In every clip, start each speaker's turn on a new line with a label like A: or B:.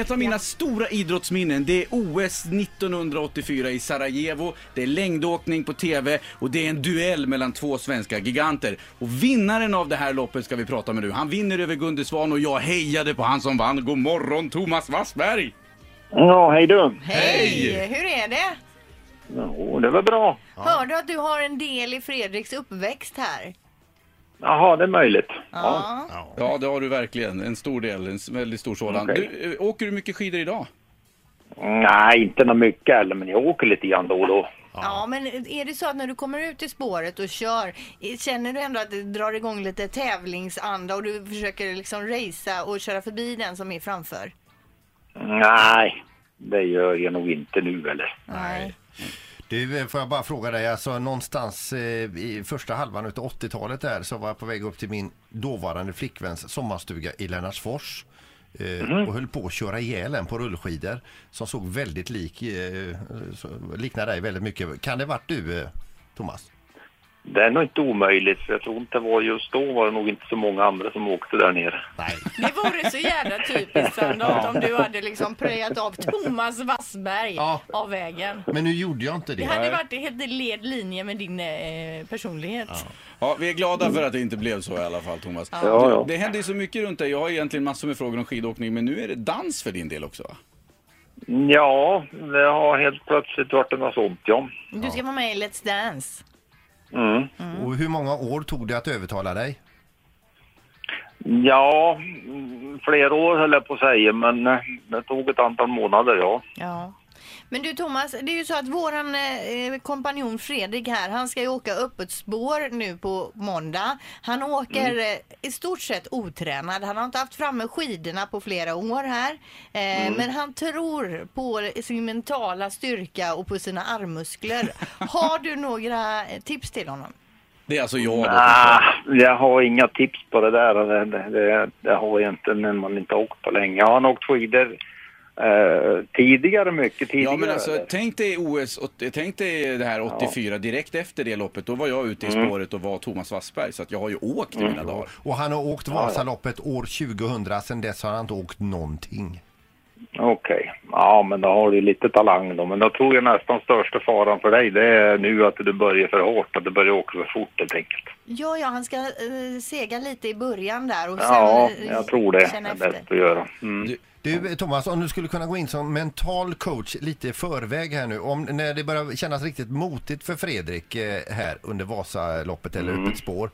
A: Ett av mina stora idrottsminnen det är OS 1984 i Sarajevo. Det är längdåkning på TV och det är en duell mellan två svenska giganter. Och vinnaren av det här loppet ska vi prata med nu. Han vinner över Gunde Svan och jag hejade på han som vann. God morgon Thomas Wassberg!
B: Ja, hej du.
A: Hej!
C: Hur är det?
B: Ja, det var bra.
C: Hör du att du har en del i Fredriks uppväxt här?
B: Jaha, det är möjligt. Ja.
C: Ja.
A: Ja, det har du verkligen. En stor del, en s- väldigt stor sådan.
B: Okej.
A: Du, eh, åker du mycket skidor idag?
B: Nej, inte något mycket heller, men jag åker lite grann då och då.
C: ja, men är det så att när du kommer ut i spåret och kör, eh, känner du ändå att det drar igång lite tävlingsanda och du försöker liksom racea och köra förbi den som är framför?
B: Nej, det gör jag nog inte nu eller.
C: Nej.
D: Du, eh, får jag bara fråga dig, alltså någonstans eh, i första halvan av 80-talet där så var jag på väg upp till min dåvarande flickväns sommarstuga i Lennartsfors. eh, Och höll på att köra ihjäl en på rullskidor som såg väldigt lik, eh, så- liknade dig väldigt mycket. Kan det varit du, eh, Thomas?
B: Det är nog inte omöjligt, för jag tror inte det var just då var det nog inte så många andra som åkte där nere.
D: Nej.
E: Det vore så jävla typiskt Sandholt om du hade liksom pröjat av Thomas Wassberg
D: Ja.
E: av vägen.
D: Men nu gjorde jag inte
E: Det
D: det.
E: hade varit i helt led linje med din eh, personlighet.
A: Ja, vi är glada för att det inte blev så i alla fall, Thomas.
B: Ja, ja.
A: Det händer ju så mycket runt dig. Jag har egentligen massor med frågor om skidåkning, men nu är det dans för din del också va?
B: Ja, det har helt plötsligt varit något sånt ja.
C: Du ska vara med i Let's Dance.
B: Mm.
D: Och hur många år tog det att övertala dig?
B: Ja, mm, flera år höll jag på att säga, men eh, det tog ett antal månader ja.
C: Ja. Men du Thomas, det är ju så att våran eh, kompanjon Fredrik här, han ska ju åka öppet spår nu på måndag. Han åker
B: Mm.
C: eh, i stort sett otränad. Han har inte haft framme skidorna på flera år här. Eh,
B: Mm.
C: Men han tror på sin mentala styrka och på sina armmuskler. har du några eh, tips till honom?
A: Det är alltså jag då.
B: Ah, jag har inga tips på det där. Det, det, det, det har jag inte när man inte har åkt på länge. Jag har nog åkt skidor eh, tidigare, mycket tidigare.
A: Ja men alltså tänk dig OS, och- tänk dig det här 84 direkt efter det loppet. Då var jag ute i spåret och var Thomas Wassberg så att jag har ju åkt i mina dagar.
D: Och han har åkt Vasaloppet år 2000, sen dess har han inte åkt någonting.
B: Okej. Ja, men då har du lite talang då. Men då tror jag nästan största faran för dig det är nu att du börjar för hårt, att du börjar åka för fort helt enkelt.
C: Ja, ja, han ska eh, sega lite i början där och sen
B: Ja,
C: eh,
B: jag tror det
C: känna
B: är
C: efter.
B: bäst att göra. Mm.
D: Du eh, Thomas, om du skulle kunna gå in som mental coach lite i förväg här nu, om, när det börjar kännas riktigt motigt för Fredrik eh, här under Vasaloppet eller
B: Mm.
D: öppet spår.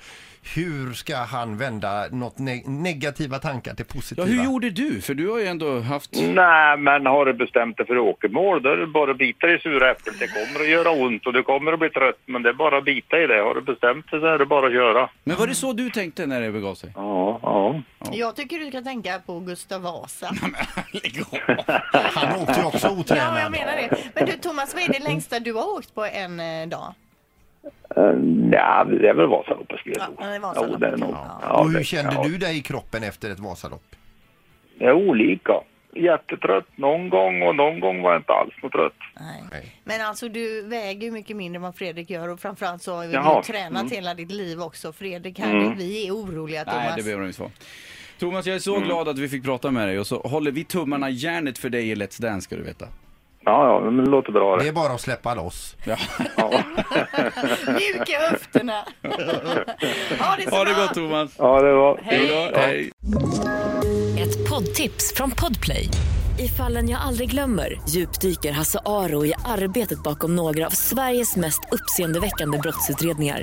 D: Hur ska han vända något ne- negativa tankar till
A: Ja
D: positiva?
A: hur gjorde du? För du har ju ändå haft...
B: Mm. Nej, men har du bestämt dig för åkermål, då är det bara att bita i det sura äpplet. Det kommer att göra ont och du kommer att bli trött, men det är bara att bita i det. Har du bestämt dig så är det bara att göra.
A: Men var det så du tänkte när det begav sig?
B: Ja, ja.
C: Jag tycker du ska tänka på Gustav Vasa.
A: Lägg av!
D: Han åkte ju också
C: Ja, jag
D: otränad.
C: menar det. Men du Thomas, vad är det längsta du har åkt på en eh, dag?
B: Nej, Eh, det är väl Vasaloppet skulle jag
C: Ja,
B: tro.
C: det är Vasaloppet.
B: Jo, det är nog.
C: Ja.
B: Ja,
D: Och hur
B: det-
D: kände
B: ja.
D: du dig i kroppen efter ett Vasalopp?
B: Det är olika. Jättetrött någon gång och någon gång var jag inte alls så trött.
C: Nej.
D: Nej.
C: Men alltså du väger ju mycket mindre än vad Fredrik gör och framförallt så har ju
B: Jaha.
C: du tränat hela ditt liv också. Fredrik här, vi är oroliga Thomas.
A: Nej, det behöver de inte vara. Thomas, jag är så glad att vi fick prata med dig och så håller vi tummarna järnet för dig i Let's Dance ska du veta.
B: Ja, ja, men det låter bra
D: Det
B: det.
D: är bara att släppa loss.
A: Ja.
B: Ja,
C: Mjuka höfterna! ha det så
A: Ha det
C: bra!
A: gott Thomas!
B: ja det var...
A: Hej då. Hej.
F: Ett poddtips från Podplay. I fallen jag aldrig glömmer djupdyker Hasse Aro i arbetet bakom några av Sveriges mest uppseendeväckande brottsutredningar.